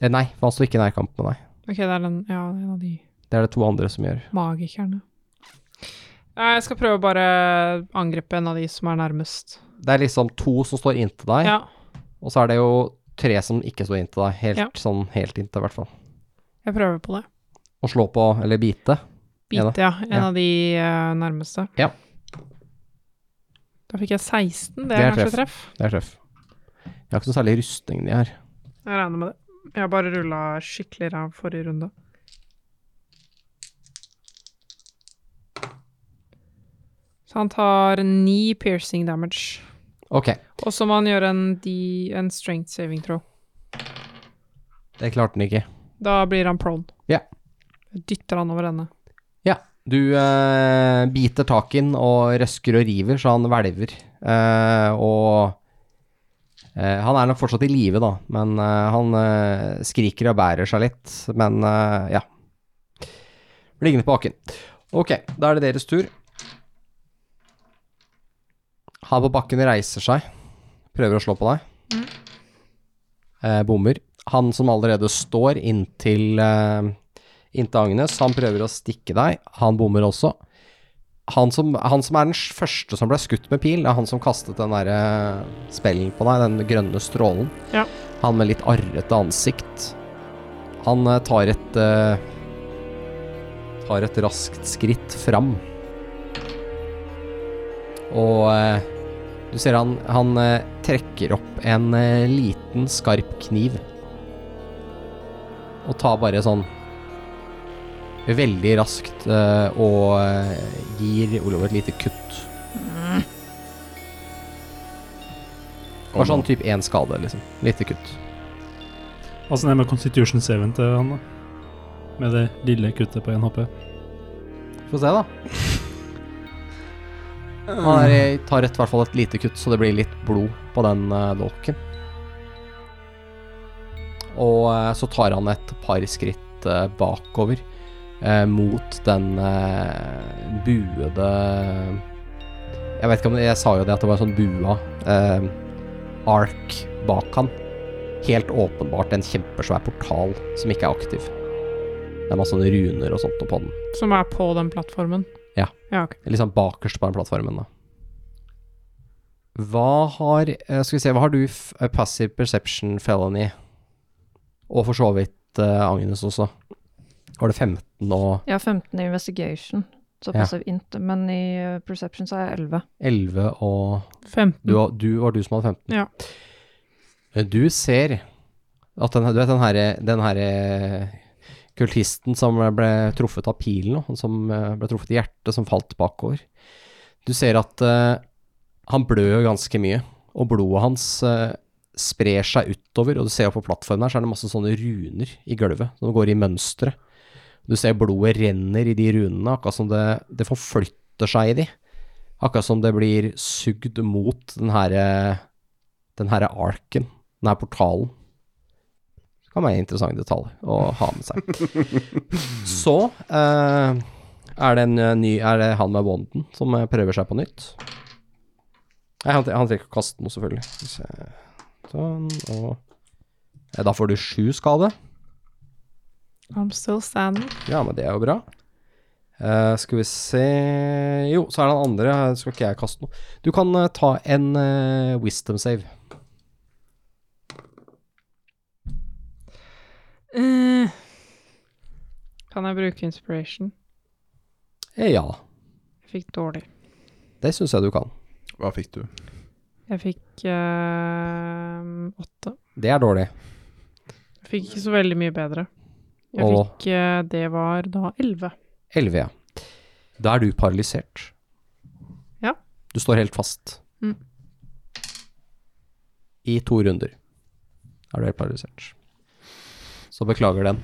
Eh, nei, for han står ikke i nærkamp med deg.
Ok, det er den Ja, det er en av de
Det er det to andre som gjør.
magikerne. Eh, Jeg skal prøve å bare angripe en av de som er nærmest.
Det er liksom to som står inntil deg,
Ja.
og så er det jo tre som ikke står inntil deg. Helt
Ja.
sånn helt inntil, i hvert fall.
Jeg prøver på det.
Å slå på, eller bite. Ja da.
Bite, ja. En
Ja.
av de eh, nærmeste.
Ja.
Da fikk jeg 16. Det er,
Det er
kanskje treff.
Det er treff. Jeg har ikke noe særlig rustning de her.
Jeg regner med det. Jeg har bare rulla skikkelig ræv forrige runde. Så han tar ni piercing damage.
Ok,
Og så må han gjøre en, D- en strength saving throw.
det klarte den ikke.
Da blir han prone.
Ja.
Jeg dytter han over ende.
Ja, du eh, biter tak i den og røsker og river, så han hvelver. Eh, og eh, han er nok fortsatt i live, da, men eh, han eh, skriker og bærer seg litt. Men eh, ja. Blir liggende på bakken. Ok, da er det deres tur. Han på bakken reiser seg, prøver å slå på deg. Eh, bommer. Han som allerede står inntil eh, inntil Agnes. Han prøver å stikke deg. Han bommer også. Han som, han som er den s- første som ble skutt med pil, det er han som kastet den derre spellen på deg, den grønne strålen.
Ja.
Han med litt arrete ansikt. Han eh, tar et eh, Tar et raskt skritt fram. Og eh, du ser han, han eh, trekker opp en eh, liten, skarp kniv. Og tar bare sånn veldig raskt eh, og eh, gir Olav et lite kutt. Det var sånn typ én skade, liksom. Lite kutt.
Åssen er det med Constitution 7 til han, da? Med det lille kuttet på 1 HP.
Få se, da. Han er, jeg tar et, hvert fall et lite kutt, så det blir litt blod på den eh, dolken. Og eh, så tar han et par skritt eh, bakover eh, mot den eh, buede Jeg vet ikke om det, jeg sa jo det, at det var en sånn bua eh, ark bak han. Helt åpenbart en kjempesvær portal som ikke er aktiv. Det er masse sånne runer og sånt på den.
Som er på den plattformen.
Ja.
Ja, ok.
Liksom bakerst på den plattformen, da. Hva har eh, Skal vi se, hva har du f eh, passive perception felony? Og for så vidt eh, Agnes også. Var det 15 og
Jeg har 15 i investigation, så
Ja.
passiv int, men i eh, perception så er jeg 11.
11 og
15.
Du, og- du var du som hadde 15?
Ja.
Eh, Du ser at den, du vet, den her, den her eh, kultisten som ble truffet av pilen, og han som eh, ble truffet i hjertet, som falt bakover. Du ser at eh, han blør ganske mye, og blodet hans eh, sprer seg utover, og du ser på plattformen her, så er det masse sånne runer i gulvet, som går i mønstre. Du ser blodet renner i de runene, akkurat som det, det forflytter seg i de. Akkurat som det blir sugd mot den herre den herre arken, den her portalen. Det kan være en interessant detalj å ha med seg. Så eh, er, det en eh, ny, er det han med wonden som eh, prøver seg på nytt. Nei, han, tre- han trenger ikke å kaste noe, selvfølgelig. Skal vi se. Sånn, og Eh, Da får du sju skade.
I'm still standing.
Ja, men det er jo bra. Eh, skal vi se Jo, så er det den andre. Her skal ikke jeg kaste noe. Du kan eh, ta en eh, wisdom save.
Eh. Kan jeg bruke inspiration?
Eh, ja,
Jeg fikk dårlig.
det syns jeg du kan.
Hva fikk du?
Jeg fikk eh, åtte.
Det er dårlig.
Jeg fikk ikke så veldig mye bedre. Jeg
Og
fikk eh, Det var da elleve.
11, ja. Da er du paralysert.
Ja.
Du står helt fast.
Mm.
I to runder er du helt paralysert. Så beklager den.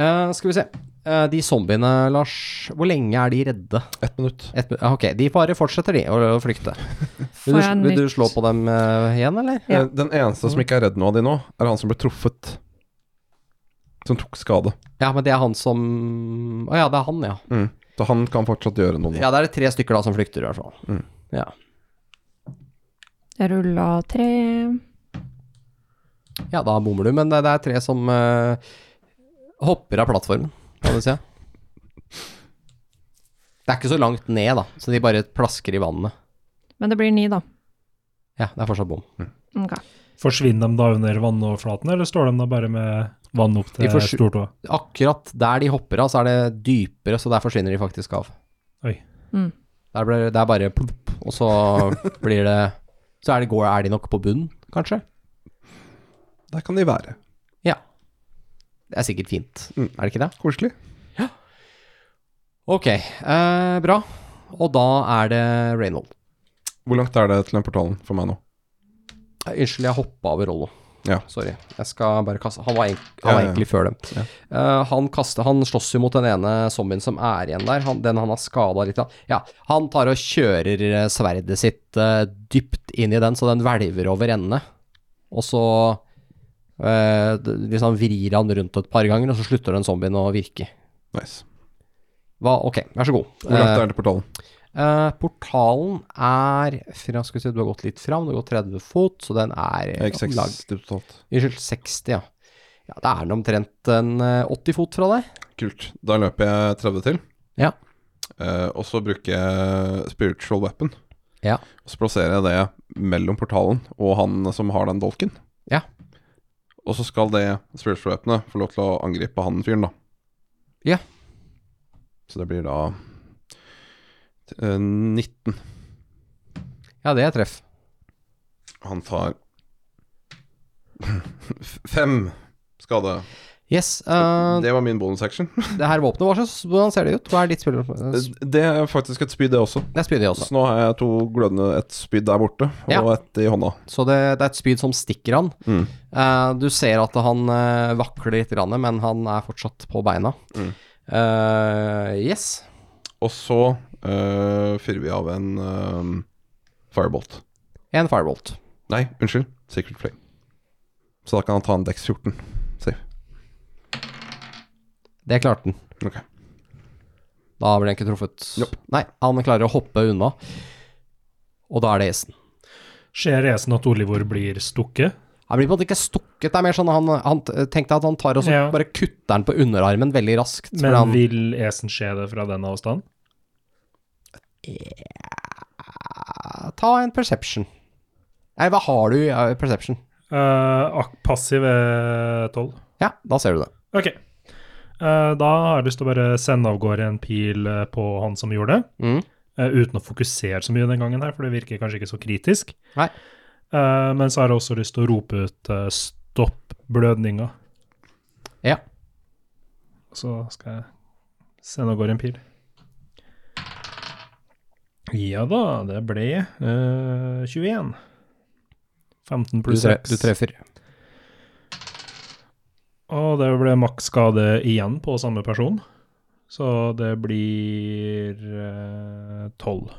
Eh, skal vi se. Eh, de zombiene, Lars, hvor lenge er de redde?
Ett minutt.
Et, min- ok, de bare fortsetter de å, å flykte. Vil
Får
du,
jeg
vil du
nytt?
slå på dem eh, igjen, eller?
Ja.
Eh, Den eneste som ikke er redd nå av de nå, er han som ble truffet. Som tok skade.
Ja, men det er han som Å ja, det er han, ja.
Mm. Så han kan fortsatt gjøre noe nå.
Ja, det er det tre stykker da som flykter, i hvert fall.
Mm.
Ja.
Jeg rulla tre.
ja, da bommer du, men det, det er tre som eh, hopper av plattformen, kan du si. Det er ikke så langt ned, da, så de bare plasker i vannet.
Men det blir ni, da.
Ja, det er fortsatt bom.
Ok.
Forsvinner de da under vannoverflaten, eller står de da bare med vann opp
De
til
forsvin-
stortåa?
Akkurat der de hopper av, så er det dypere, så der forsvinner de faktisk av.
Oi.
Mm.
Der ble, det er bare plopp, og så blir det Så er, det, går, er de nok på bunnen, kanskje?
Der kan de være.
Ja. Det er sikkert fint,
Mm.
er det ikke det?
Koselig.
Ok, eh, bra. Og da er det Reynold.
Hvor langt er det til den portalen for meg nå?
Eh, Unnskyld, jeg hoppa over Rollo.
Ja.
Sorry. Jeg skal bare kaste Han var, egent- han var
Ja, ja, ja.
egentlig før dem. Eh, han, kaster, han slåss jo mot den ene zombien som er igjen der, han, den han har skada litt. da. Ja, han tar og kjører eh, sverdet sitt eh, dypt inn i den, så den hvelver over ende. Og så eh, d- liksom vrir han rundt et par ganger, og så slutter den zombien å virke.
Nice.
Hva, ok, vær så god.
Hvor langt er det til portalen?
Eh, portalen er fra, skal vi se, Du har gått litt fram, du har gått 30 fot, så den er
Jeg gikk
om lag-
60 totalt.
Unnskyld, 60, ja. Ja, Da er den omtrent en eh, 80 fot fra deg.
Kult. Da løper jeg 30 til.
Ja.
Eh, og så bruker jeg spiritual weapon.
Ja.
Og så plasserer jeg det mellom portalen og han som har den dolken.
Ja.
Og så skal det spiritual weaponet få lov til å angripe han fyren, da.
Ja.
Så det blir da eh, 19.
Ja, det er treff.
Han tar f- fem skade.
Yes. eh,
det Eh, var min bonusaction.
det her våpenet, hva slags, hvordan ser det ut? Hva er ditt spiller? Det
Det er faktisk et spyd, det også.
er spyd, det også.
Så nå har jeg to glødende Et spyd der borte, og
Ja.
et i hånda.
Så det, det er et spyd som stikker han.
Mm.
Eh, du ser at han eh, vakler litt, grann, men han er fortsatt på beina.
Mm.
Eh, yes.
Og så øh, fyrer vi av en øh, firebolt.
En firebolt.
Nei, unnskyld. Secret flame. Så da kan han ta en Dex 14. Safe.
Det klarte han.
Ok.
Da blir han ikke truffet.
Nope.
Nei, han klarer å hoppe unna. Og da er det isen.
Ser Esen at Olivor blir stukket?
Han blir på en måte ikke stukket, det er mer sånn han, han tenkte at han tar og så
Ja.
bare kutter den på underarmen veldig raskt. for
Men
han,
vil Esen se det fra den avstanden?
Ta en perception. Nei, hva har du i eh, perception?
Eh, ak- passiv er tolv.
Ja, da ser du det.
OK. Eh, da har jeg lyst til å bare sende av gårde en pil eh, på han som gjorde det.
Mm.
eh, uten å fokusere så mye den gangen her, for det virker kanskje ikke så kritisk.
Nei.
Eh, men så har jeg også lyst til å rope ut eh, 'stopp blødninga',
Ja.
og så skal jeg sende av gårde en pil. Ja da, det ble eh, 21. 15
Du,
pluss
tre,
6.
du treffer.
Og det ble maks skade igjen på samme person. Så det blir eh, 12.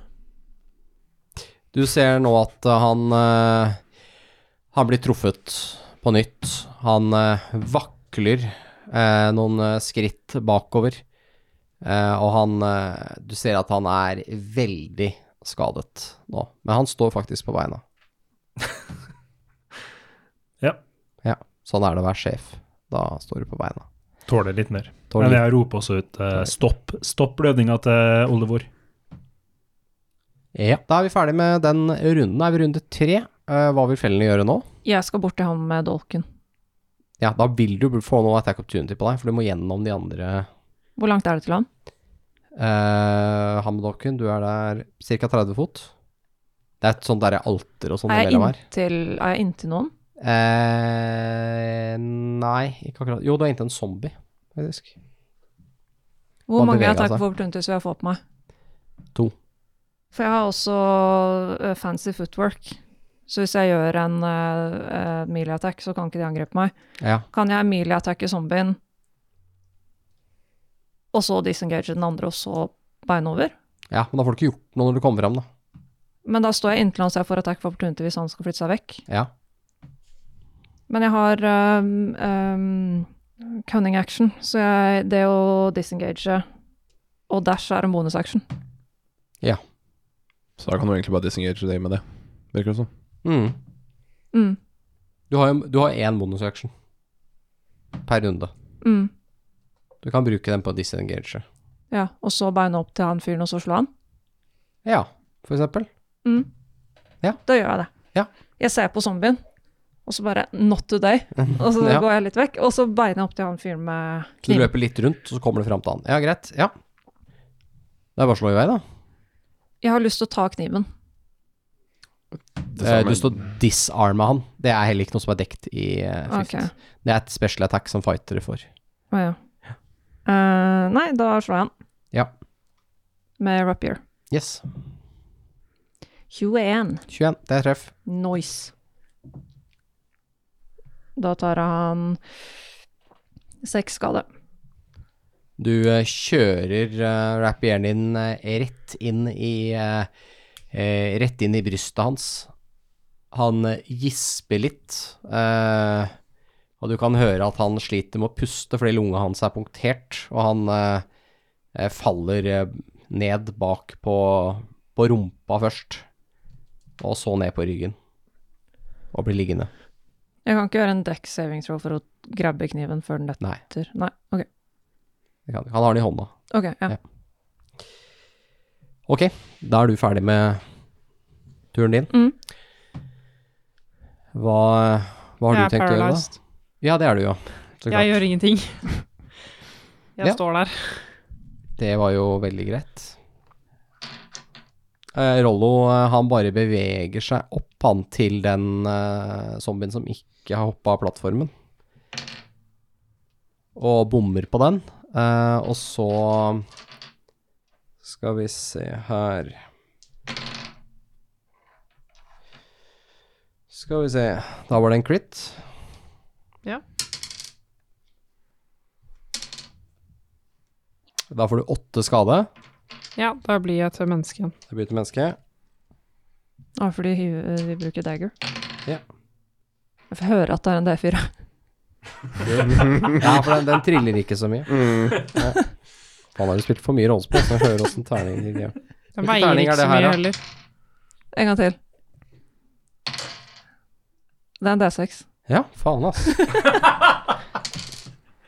Du ser nå at eh, han eh, Han blir truffet på nytt. Han eh, vakler eh, noen eh, skritt bakover. Eh, og han eh, Du ser at han er veldig skadet nå. Men han står faktisk på beina.
Ja.
Ja, sånn er det å være sjef. Da står du på beina.
Tåler litt mer.
Tåler
Men jeg roper også ut eh, 'stopp, stopp blødninga' til Oldevor.
Ja, da er vi ferdig med den runden. Da er vi runde tre. Eh, hva vil fellene gjøre nå?
Jeg skal bort til han med dolken.
Ja, da vil du få noe attack opportunity på deg, for du må gjennom de andre
Hvor langt er det til han?
uh, hammedokken. Du er der ca. 30 fot. Det er et sånt derre alter og sånn
Er jeg
imellom her.
inntil, er jeg inntil noen?
Eh, nei, ikke akkurat. Jo, du er inntil en zombie, faktisk.
Hvor
Bare
mange
bevege
attack
seg.
of opportunities vil jeg få på meg?
To.
For jeg har også eh, fancy footwork. Så hvis jeg gjør en uh, melee attack, så kan ikke de angripe meg.
Ja.
Kan jeg melee attacke zombien, og så disengage den andre, og så bein over?
ja, men da får du ikke gjort noe når du kommer fram, da.
Men da står jeg inntil han så jeg får attack for opportunity hvis han skal flytte seg vekk.
Ja.
Men jeg har ehm, ehm, cunning action, så jeg, det å disengage og dash er en bonusaction.
Så da kan du egentlig bare disengage deg med det. Virker det som.
Mm.
Mm,
Du har jo du har én bonusaction per runde.
mm,
Du kan bruke den på å disengage.
ja. Og så beina opp til han fyren, og så slå han.
Ja, for eksempel.
Mm.
Ja.
Da gjør jeg det.
Ja.
Jeg ser på zombien, og så bare not today. Og så
Mhm. Ja.
går jeg litt vekk, og så beina opp til han fyren med
Så du
kniv.
løper litt rundt, og så kommer du fram til han. Ja, greit. Ja. Det er bare å slå i vei, da.
Jeg har lyst til å ta kniven.
Det
Eh,
samme-
du står disarma han. Det er heller ikke noe som er dekt i eh, Fifth.
Ok.
Det er et special attack som fightere får.
Å ja. Eh, nei, da slår jeg han
Ja.
med rapier.
Yes.
21.
21. Det er treff.
Noise. Da tar han seks skade.
Du eh, kjører uh, rapieren din eh, rett inn i eh, eh, Rett inn i brystet hans. Han eh, gisper litt, eh, og du kan høre at han sliter med å puste fordi lunga hans er punktert, og han eh, eh, faller eh, ned bak på, på rumpa først, og så ned på ryggen, og blir liggende.
Jeg kan ikke gjøre en deck saving throw for å grabbe kniven før den detter? Nei. Ok.
Det kan- Han har den i hånda.
Ok, ja.
Ja. Ok, da er du ferdig med turen din.
Mm.
Hva, hva har
Jeg
du
er
tenkt å gjøre da?
paralyzed.
Ja, det er du, ja. Så klart.
Jeg gjør ingenting. Jeg
Ja.
står der.
Det var jo veldig greit. Eh, Rollo, eh, han bare beveger seg opp, han, til den eh, zombien som ikke har hoppa av plattformen. Og bommer på den. Eh, og så skal vi se her Skal vi se Da var det en crit.
Ja.
Da får du åtte skade.
Ja, da blir jeg til menneske igjen.
Det blir til menneske.
Ja, fordi vi- vi bruker dagger.
Ja.
Jeg får høre at det er en D4.
Ja, for den, den triller ikke så mye.
Mm.
Ja. Faen, har du spilt for mye rollespill, så jeg hører åssen terningen din gjør.
Den
Hvilken
veier
terning er
ikke
det
så
her,
mye
da?
heller.
En gang til. Det er en D6.
Ja, faen, ass.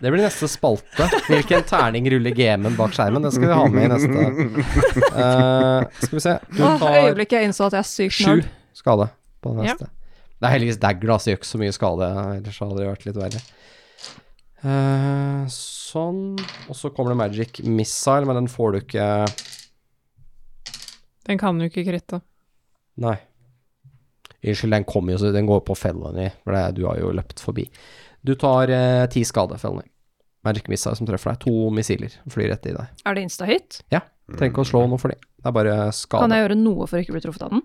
Det blir neste spalte. Hvilken terning ruller gamen bak skjermen? Det skal vi ha med i neste. Eh, skal vi se. Du
Åh,
tar
øyeblikket jeg innså at jeg er sykt
sju
nerd.
skade på den
Ja.
neste. Det er heldigvis dagger, da, så det gjør ikke så mye skade. Ellers hadde det vært litt verre. Eh, sånn. Og så kommer det magic missile, men den får du ikke
Den kan jo ikke kritte.
Nei. Unnskyld, den kommer jo, så den går på Felony, for det, du har jo løpt forbi. Du tar eh, ti skade, Felony. Magic Missile som treffer deg. To missiler flyr rett i deg.
Er det insta-hit?
Trenger ikke å slå noe for det. Det er bare skade.
Kan jeg gjøre noe for å ikke bli truffet av den?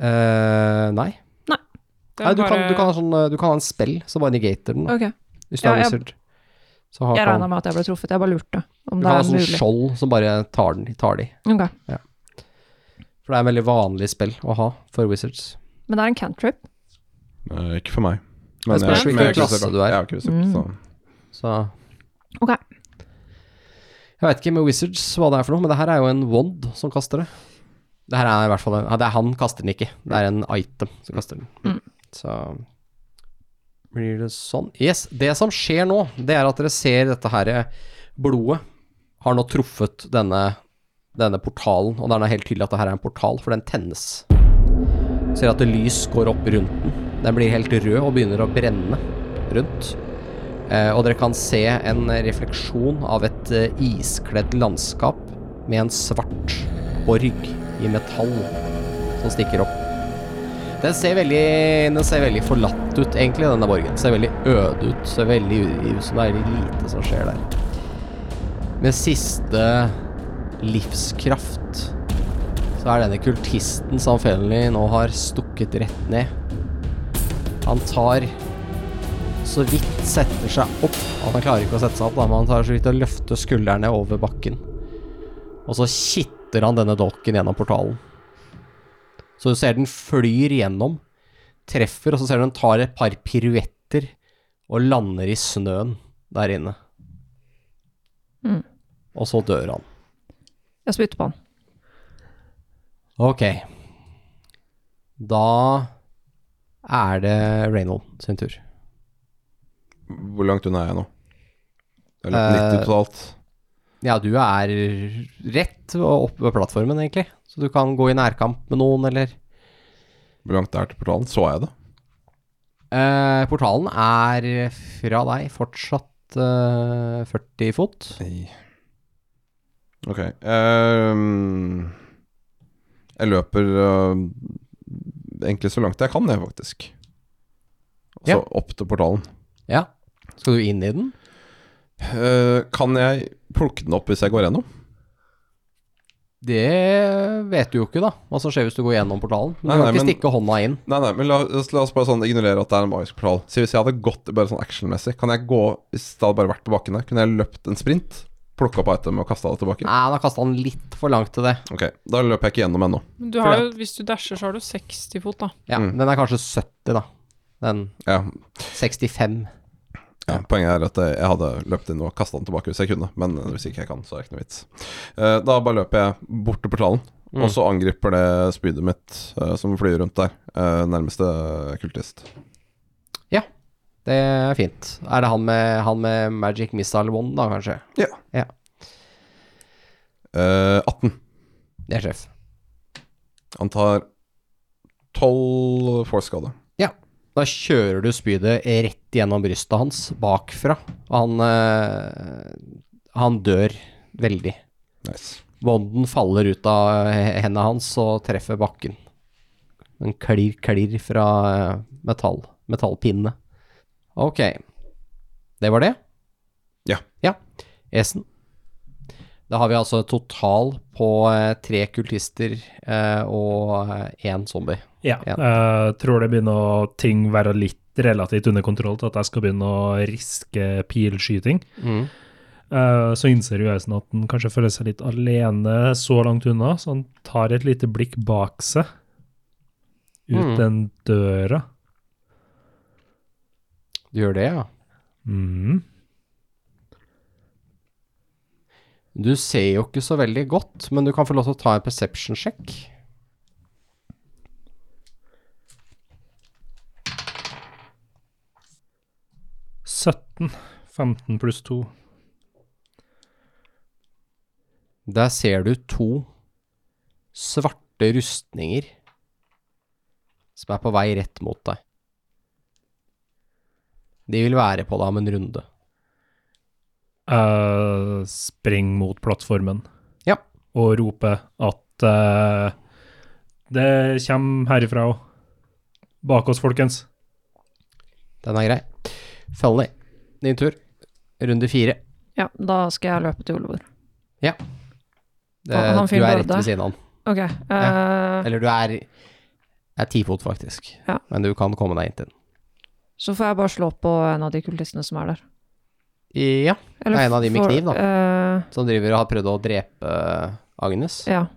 Eh, nei.
Den
nei du, kan,
bare-
du, kan ha sånn, eh, du kan ha en spell som bare negater den, da,
Ok,
hvis du
Ja,
har
jeg-
wizard. Så har,
Jeg regna
kan,
med at jeg ble truffet, jeg bare lurte om
du
det
kan ha
er
sånn
mulig.
skjold som bare tar den, tar de.
Ok.
For det er en veldig vanlig spill å ha for wizards.
Men det er en cantrip.
Eh, ikke for meg.
Det spørs hvilken
er ikke
klasse
sikker.
du er.
Jeg er ikke sikker,
Mm.
så.
Så
Ok.
Jeg veit ikke med Wizards hva det er for noe, men det her er jo en wand som kaster det. Det her er i hvert fall en, ja, det er Han kaster den ikke, det er en item som kaster den.
Mm.
Så blir det sånn. Yes. Det som skjer nå, det er at dere ser dette her blodet har nå truffet denne, denne portalen, og det er nå helt tydelig at det her er en portal, for den tennes. Ser at det lys går opp rundt den. Den blir helt rød og begynner å brenne rundt. Eh, og dere kan se en refleksjon av et eh, iskledd landskap med en svart borg i metall som stikker opp. Den ser veldig, den ser veldig forlatt ut, egentlig, denne borgen. Ser veldig øde ut. Ser veldig ut som det er veldig lite som skjer der. Med siste livskraft så er denne kultisten som Fenley nå har stukket rett ned. Han tar så vidt setter seg opp. Han klarer ikke å sette seg opp, da, men han tar så vidt å løfte skuldrene over bakken. Og så kitter han denne dolken gjennom portalen. Så du ser den flyr gjennom, treffer, og så ser du den tar et par piruetter og lander i snøen der inne.
Mm.
Og så dør han.
Jeg spytter på den.
Ok. Da er det Reynold sin tur.
Hvor langt unna er jeg nå? Jeg har løpt 90 totalt.
Ja, du er rett oppe ved plattformen, egentlig. Så du kan gå i nærkamp med noen, eller
Hvor langt det er til portalen? Så jeg det?
Eh, Portalen er fra deg fortsatt eh, 40 fot.
Ok. ehm, jeg løper eh, egentlig så langt jeg kan, jeg, faktisk. Og så
Ja.
opp til portalen.
Ja. Skal du inn i den?
Eh, kan jeg plukke den opp hvis jeg går gjennom?
Det vet du jo ikke, da. Hva som skjer hvis du går gjennom portalen. Du
Nei,
kan
nei,
ikke
men-
stikke hånda inn.
Nei, nei, men la, oss- la oss bare sånn ignorere at det er en magisk portal. Si hvis jeg hadde gått bare sånn actionmessig, kan jeg gå Hvis det hadde bare vært på bakken der, kunne jeg løpt en sprint, plukka opp item og kasta det tilbake?
Nei, da kasta han litt for langt til det.
Ok, da løper jeg ikke gjennom ennå.
Men du har jo, hvis du dasher, så har du 60 fot, da.
Ja,
Mm.
Den er kanskje 70, da. Den
Ja,
65.
ja, poenget er at jeg hadde løpt inn og kasta den tilbake hvis jeg kunne, men hvis ikke jeg kan, så er det ikke noe vits. Eh, Da bare løper jeg bort til portalen, og så angriper det spydet mitt eh, som flyr rundt der, eh, nærmeste kultist.
Det er fint. Er det han med, han med Magic Missile One, da, kanskje?
Ja.
Ja.
Eh, 18.
Det er sjef.
Han tar 12 force-skade.
Da kjører du spydet rett gjennom brystet hans, bakfra. Og han eh, Han dør veldig.
Nice.
Bonden faller ut av eh, hendene hans og treffer bakken. En klirr, klirr fra eh, metall, metallpinnene. Ok. Det var det?
Ja.
Ja. Esen. Da har vi altså total på eh, tre kultister eh, og én zombie.
Ja.
Ja.
Jeg tror det begynner å ting være litt relativt under kontroll til at jeg skal begynne å riske pilskyting. Eh, Så innser jo Eisen at han kanskje føler seg litt alene så langt unna, så han tar et lite blikk bak seg, ut
Mm.
den døra.
Du gjør det, ja?
Mm.
Du ser jo ikke så veldig godt, men du kan få lov til å ta en perception check.
Mm. 17. 15 pluss 2.
Der ser du to svarte rustninger som er på vei rett mot deg. De vil være på deg om en runde.
Jeg springer Eh, mot plattformen
Ja.
og roper at eh, det kommer herifra òg. Bak oss, folkens.
Den er grei. Fanny, din tur. Runde fire.
Ja, da skal jeg løpe til Oliver.
Det,
Han- han
du
fyren
er
døde.
rett ved siden av han.
Ok. eh,
Eller du er, er ti fot, faktisk.
Ja.
Men du kan komme deg inntil den.
så får jeg bare slå på en av de kultistene som er der.
Ja, Det er en av de med
får-
kniv, da.
eh,
som driver og har prøvd å drepe Agnes.
ja.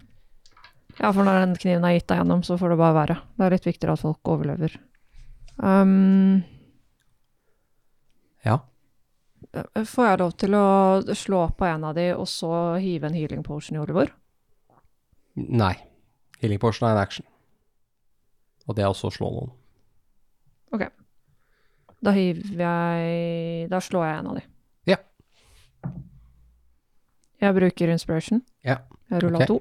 ja, for når den kniven er gitt deg gjennom, så får det bare være. Det er litt viktigere at folk overlever. Um,
Ja.
får jeg lov til å slå på en av de, og så hive en healing potion i Oliver?
Nei. Healing portion er en action. Og det er også å slå noen.
Da hiver jeg Da slår jeg en av de.
Ja.
Jeg bruker inspiration.
Ja,
Jeg rulla
ok.
to.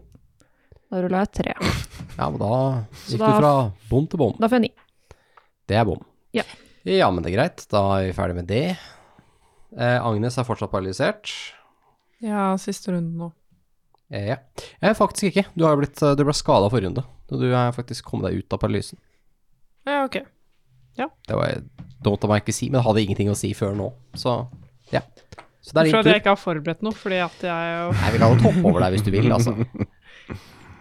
Da rulla jeg tre.
Ja, men da
Så
gikk
da-
du fra bom til bom.
Da får jeg ni.
Det er bom.
Ja.
ja, men det er greit. Da er vi ferdig med det. Eh, Agnes er fortsatt paralysert.
Ja, siste runden nå.
Eh, ja. Eh, faktisk ikke. Du, har jo blitt, eh, du ble skada forrige runde. og Du er faktisk kommet deg ut av paralysen.
Ja, OK.
Det var dumt av meg ikke å si, men det hadde ingenting å si før nå. Så ja. Så det er
Jeg tror
din
at
tur.
jeg ikke har forberedt noe, fordi at jeg, jo-
Jeg vil ha hoppe over deg hvis du vil, altså.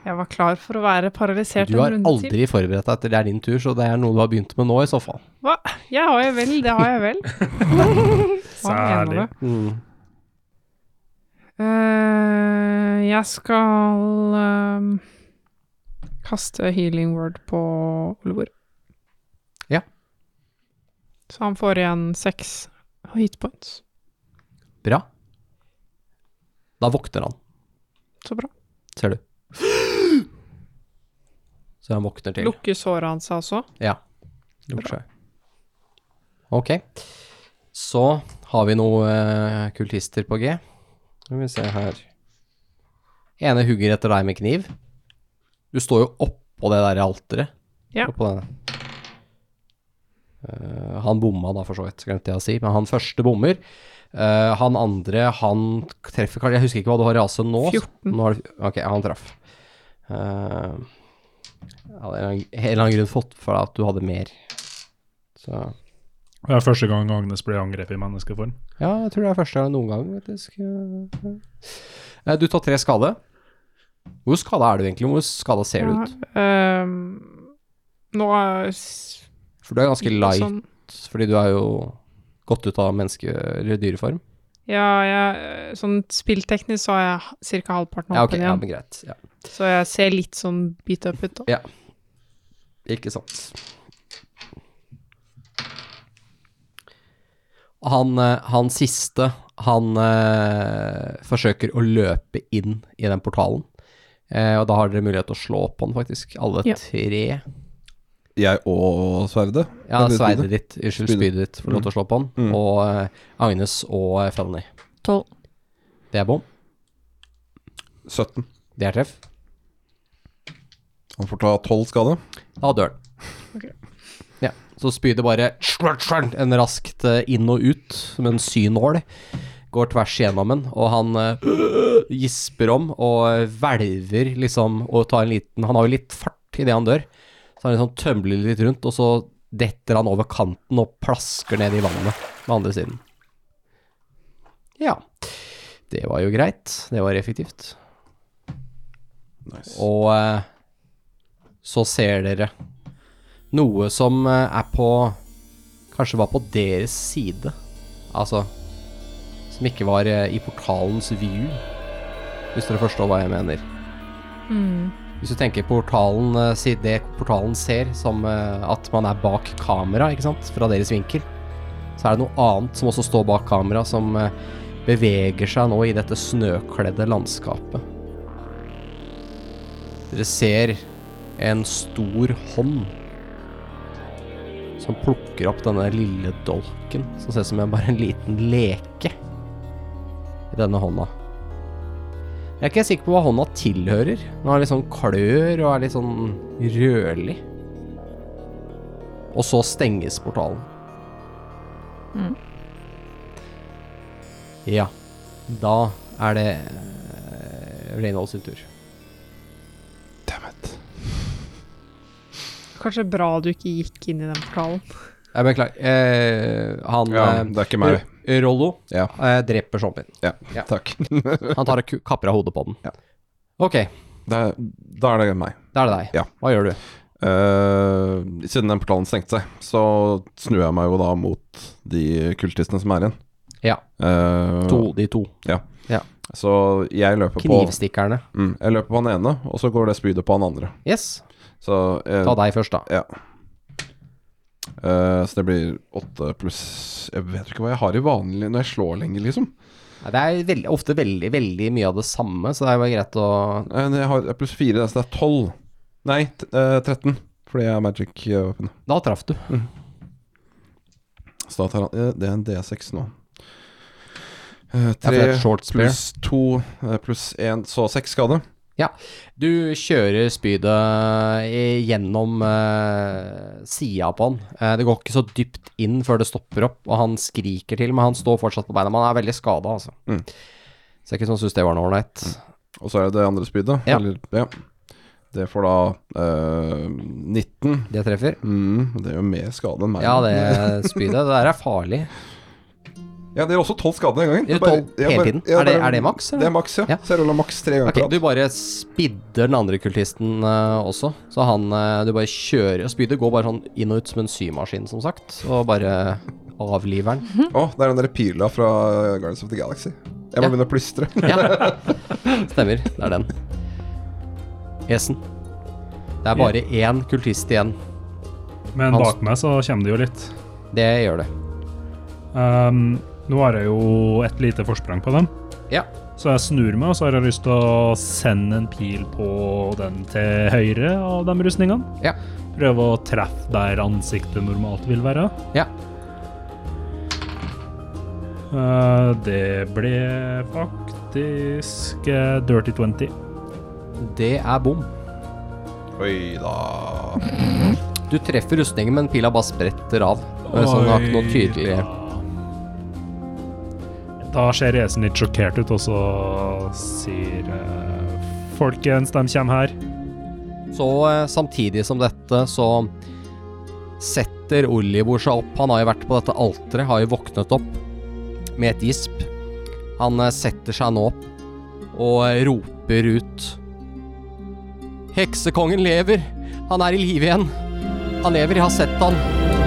jeg var klar for å være paralysert
Du
en
har
runde til.
aldri forberedt deg til det er din tur, så det er noe du har begynt med nå, i så fall.
Hva? Jeg har jo vel, det har jeg vel. Hva mener
Særlig.
du?
Mm.
Eh, jeg skal ehm, kaste healing word på Oliver.
Ja.
Så han får igjen seks hit points.
Bra. Da våkner han,
Så bra.
ser du. Så han våkner til.
Lukker såret hans altså.
Ja. Lukker seg. Ok. Så har vi noen eh, kultister på G. Skal vi se her. Ene hugger etter deg med kniv. Du står jo oppå det der alteret.
Ja.
Oppå den. Eh, han bomma da, for så vidt, glemte jeg å si, men han første bommer. Eh, han andre, han treffer kanskje Jeg husker ikke hva du har i AC nå. så-
14.
Nå har du, ok, han traff. Eh, jeg hadde en eller annen- en eller annen grunn fått for deg at du hadde mer. Så
Det er første gang Agnes blir angrepet i menneskeform.
Ja, jeg tror det er første gang noen gang, faktisk. Eh, Du tar tre skade. Hvor skada er du egentlig? Hvor skada ser du ut?
Ehm, nå er s-
For du er ganske light,
sånn-
fordi du er jo gått ut av menneske- eller dyreform.
Ja, jeg, sånn spillteknisk så har jeg ca. halvparten åpen
Ja, ok, ja,
igjen.
men greit. Ja.
Så jeg ser litt sånn beat up ut, da.
Ikke sant. Han, eh, han siste, han eh, forsøker å løpe inn i den portalen. Eh, og da har dere mulighet til å slå på den, faktisk. Alle
Ja.
tre.
Jeg og sverdet.
Ja,
Eller
sverdet ditt, unnskyld,
Spydet.
spydet ditt får lov til å slå på den.
Mm.
Og eh, Agnes og eh, Fanny.
Tolv.
Det er bom.
17.
Det er treff.
Han får ta 12 skade.
Da dør den.
Ok.
Ja, så spydet bare en raskt eh, inn og ut, som en synål. Går tvers igjennom den, og han eh, gisper om og hvelver liksom og tar en liten Han har jo litt fart idet han dør, så han liksom tømler litt rundt, og så detter han over kanten og plasker ned i vannet med andre siden. Ja. Det var jo greit. Det var effektivt.
Nice.
Og eh, så ser dere noe som eh, er på Kanskje var på deres side. Altså Som ikke var eh, i portalens view. Hvis dere forstår hva jeg mener. Hvis du tenker portalen eh, si- det portalen ser som eh, at man er bak kamera, ikke sant? Fra deres vinkel. Så er det noe annet som også står bak kamera, som eh, beveger seg nå i dette snøkledde landskapet. Dere ser en stor hånd som plukker opp denne lille dolken, som ser ut som en- bare en liten leke i denne hånda. Jeg er ikke helt sikker på hva hånda tilhører. Den har litt sånn klør og er litt sånn rødlig. Og så stenges portalen. Ja. Da er det eh, Reynold sin tur.
Damn it.
Kanskje bra du ikke gikk inn i den portalen.
Jeg beklager. Eh, han
Ja,
eh,
det er ikke meg.
R- Rollo
Ja.
eh, dreper zombien. Ja.
Takk.
Han tar og ku- kapper av hodet på den.
Ja.
Ok,
Da, da er det meg.
da er det deg.
Ja.
Hva gjør du?
Eh, siden den portalen stengte seg, så snur jeg meg jo da mot de kultistene som er igjen.
Ja,
Eh,
to, de to.
Så jeg løper på
Knivstikkerne.
mm, Jeg løper på han ene, og så går det spydet på han andre.
Yes,
Så, eh,
ta deg først, da.
eh, så det blir åtte pluss Jeg vet ikke hva jeg har i vanlig når jeg slår lenger, liksom.
Nei, Det er veldig, ofte veldig, veldig mye av det samme, så det er jo greit å
Eh, Jeg har pluss fire, så det er tolv. Nei, t eh, 13. Fordi jeg har magic-våpen.
Da traff du.
Så da tar han eh, Det er en D6 nå. Eh,
Ja, for
Tre
det er et short spear.
pluss to eh, pluss én, så seks skade.
Du kjører spydet i- gjennom uh, sida på han. Eh, det går ikke så dypt inn før det stopper opp, og han skriker til, men han står fortsatt på beina. Men han er veldig skada, altså.
Mm.
Så det er ikke sånn syns det var noe ålreit.
Og så er det det andre spydet.
Ja.
Eller, ja. Det får da eh, 19.
Det treffer.
Mm, det gjør mer skade enn meg.
Ja, det spydet. Det der er farlig.
Ja, det gjør også tolv skader den gangen.
Det er
Jeg bare-
tolv
jeg
hele
bare-
tiden.
jeg
Er det-
bare-
er det maks, eller?
Det er maks, ja.
Ja.
Så jeg ruller maks tre ganger
Ok,
på rad.
du bare spidder den andre kultisten eh, også, så han eh, Du bare kjører og spydet går bare sånn inn og ut som en symaskin, som sagt, og bare avliver den.
Å, det er den der pila fra Guardians of the Galaxy. Jeg må
Mm. Ja.
begynne å plystre.
Ja. Stemmer. Det er den. Esen. Det er bare én kultist igjen.
Men
Han-
bak meg så kommer det jo litt.
Det gjør det.
Ehm, nå har jeg jo et lite forsprang på dem,
Ja.
så jeg snur meg, og så har jeg lyst til å sende en pil på den til høyre av de rustningene.
Ja.
Prøve å treffe der ansiktet normalt vil være.
Ja.
Eh, det ble faktisk eh, Dirty 20.
Det er bom.
Oi da.
Du treffer rustningen, men pila bare spretter av. Og liksom, den har ikke noe tydelig
Da ser Esen litt sjokkert ut, og så sier eh, Folkens, de kommer her.
Så eh, samtidig som dette, så setter Olivor seg opp. Han har jo vært på dette alteret, har jo våknet opp med et gisp. Han eh, setter seg nå opp og eh, roper ut Heksekongen lever! Han er i live igjen! Han lever, jeg har sett han.